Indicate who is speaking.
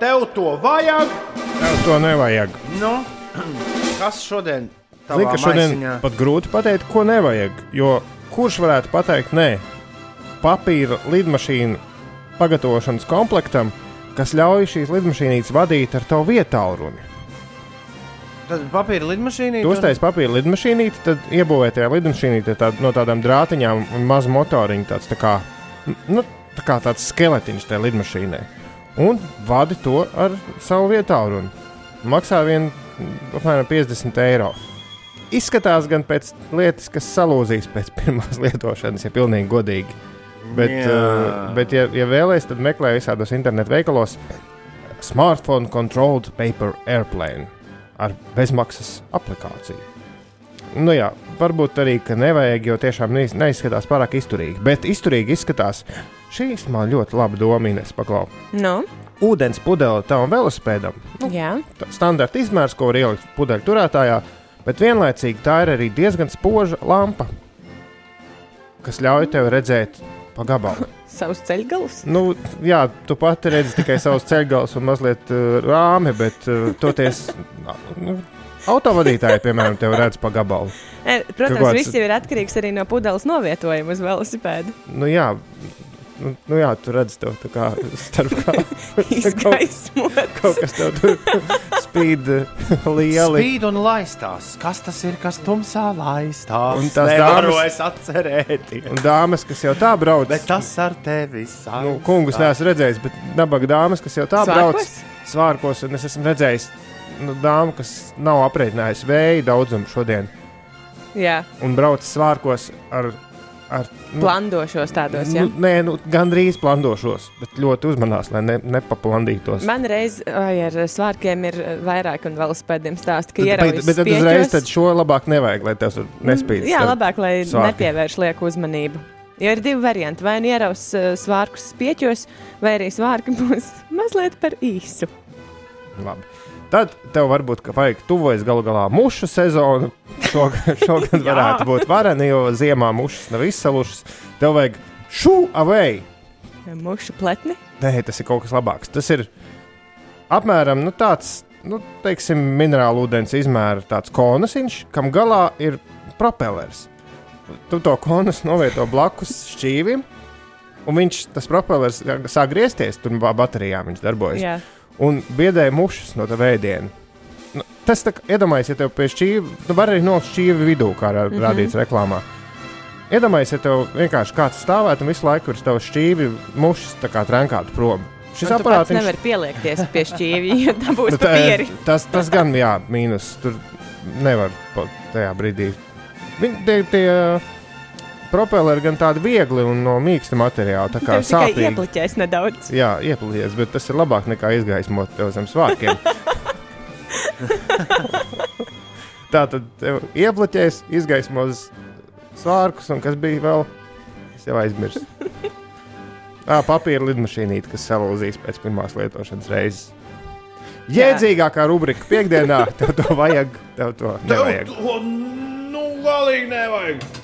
Speaker 1: Tev to vajag?
Speaker 2: Tev to nevajag.
Speaker 1: Nu, kas šodien?
Speaker 2: Zini, ka šodien pat grūti pateikt, ko nevajag. Jo kurš varētu pateikt, nē, papīra lidmašīnu pagatavošanas komplektam, kas ļauj šīs lidmašīnītes vadīt ar tavu vietālu?
Speaker 1: Tad papīra lidmašīnā.
Speaker 2: Tu uztaisīji papīra lidmašīnīti, tad iebūvēji tajā lidmašīnītē tā, no tādām drātiņām un mazu motoriņu, tāds tā kā, nu, tā kā tāds skeletiņš tajā lidmašīnā. Un vadi to ar savu vietā, un maksā vien apmēram 50 eiro. Izskatās gan pēc lietas, kas salūzīs pēc pirmās lietošanas, ja pilnīgi godīgi. Bet,
Speaker 1: Jā.
Speaker 2: uh, bet ja, ja vēlaties, tad meklējiet visādos internetu veikalos smartphone controlled paper airplane ar bezmaksas aplikāciju. Nu jā, varbūt arī, ka nevajag, jo tiešām neiz- neizskatās pārāk izturīgi. Bet izturīgi izskatās šīs man ļoti laba doma, Ines, paklau.
Speaker 3: Nu,
Speaker 2: Ūdens pudele tavam velosipēdam.
Speaker 3: jā.
Speaker 2: Tā Standarta izmērs, ko var ielikt pudeļu turētājā, bet vienlaicīgi tā ir arī diezgan spoža lampa, kas ļauj tev redzēt pa gabalu.
Speaker 3: Savs ceļgalus.
Speaker 2: Nu, jā, tu pati redzi tikai savus ceļgalus un mazliet uh, rāmi, bet uh, toties nu, autovadītāji, piemēram, tev redz pa gabalu.
Speaker 3: E, Protams,
Speaker 2: Kaut kāds-
Speaker 3: Kāds... viss jau ir atkarīgs arī no pudeles novietojuma uz velosipēda.
Speaker 2: Nu, jā, nu, nu, jā tu redz to tā kā starp kā kaut,
Speaker 3: Izgaismot.
Speaker 2: kaut kas tev tur spīd uh, lieli.
Speaker 1: Spīd un laistās. Kas tas ir, kas tumsā laistās?
Speaker 2: Un tās
Speaker 1: Nevaru
Speaker 2: dāmas-
Speaker 1: es atcerēties.
Speaker 2: Un dāmas, kas jau tā brauc,
Speaker 1: Bet tas ar tevi sāp.
Speaker 2: nu, kungus neesmu redzējis, bet nabaga dāmas, kas jau tā
Speaker 3: Svārkos?
Speaker 2: brauc svārkos, un es esmu redzējis nu, dāmu, kas nav aprēķinājusi vēja daudzumu šodien
Speaker 3: Jā,
Speaker 2: un brauc svārkos ar, ar nu,
Speaker 3: plandošos tādos. Jā.
Speaker 2: Nu, nē, nu, gandrīz plandošos, bet ļoti uzmanās, lai ne, nepaplandītos.
Speaker 3: Man reiz ai, ar svārkiem ir eh, vairāk un velosipēdiem stāsta, ka
Speaker 2: bet,
Speaker 3: ieraudzīt.
Speaker 2: bet tad uzreiz tad šo labāk nevajag, lai tas tur nespīd.
Speaker 3: Mm, Jā, labāk, lai
Speaker 2: svārki.
Speaker 3: svārki. nepievērš lieku uzmanību. Jo ir divi varianti. Vai nu ieraus eh, svārkus spieķos, vai arī svārki būs mazliet par īsu.
Speaker 2: Labi. Tad tev varbūt ka vajag tuvojas galu galā mušu sezonu. Šogad, šogad varētu būt varena, jo ziemā mušas nav izsalušas. Tev vajag šū away!
Speaker 3: Mušu pletni.
Speaker 2: Nē, tas ir kaut kas labāks. Tas ir apmēram nu, tāds, nu, teiksim, minerālu ūdens izmēra tāds konasiņš, kam galā ir propellers. Tu to konas novieto blakus šķīvim, un viņš, tas propellers sāk griezties, tur ba- baterijā viņš darbojas.
Speaker 3: Jā.
Speaker 2: Un biedēja mušas no tā veidiena. Nu, tas tā kā iedomājies, ja tev pie šķīva, nu var arī nolikt šķīvi vidū, kā ra-
Speaker 3: Mhm.
Speaker 2: rādīts reklāmā. Iedomājies, ja tev vienkārši kāds stāvētu un visu laiku ir tavs šķīvi mušas tā kā trenkātu prom. Šis
Speaker 3: Un Nu, tu pats
Speaker 2: aparāts viņš-
Speaker 3: nevar pieliekties pie šķīvja, ja tā būs
Speaker 2: Nu,
Speaker 3: nu, papīri.
Speaker 2: tas, tas gan, jā, mīnus. Tur nevar pa- tajā brīdī. Viņi tie, tie propelleri gan tādi viegli un no mīksta materiāla, tā kā
Speaker 3: Nu, Tev tikai
Speaker 2: sāpīgi.
Speaker 3: iepliķēs nedaudz.
Speaker 2: Jā, ieplies, bet tas ir labāk nekā izgaismot tev zem svārkiem. Tā tad tev iepliķēs, izgaismos svārkus, un kas bija vēl? Es jau aizmirsu. Tā papīra lidmašīnīte, kas salūzīs pēc pirmās lietošanas reizes.
Speaker 3: Jā.
Speaker 2: Jēdzīgākā rubrika piekdienā, tev to vajag. Tev to
Speaker 1: Tev
Speaker 2: nevajag.
Speaker 1: to, Nu, galīgi nevajag.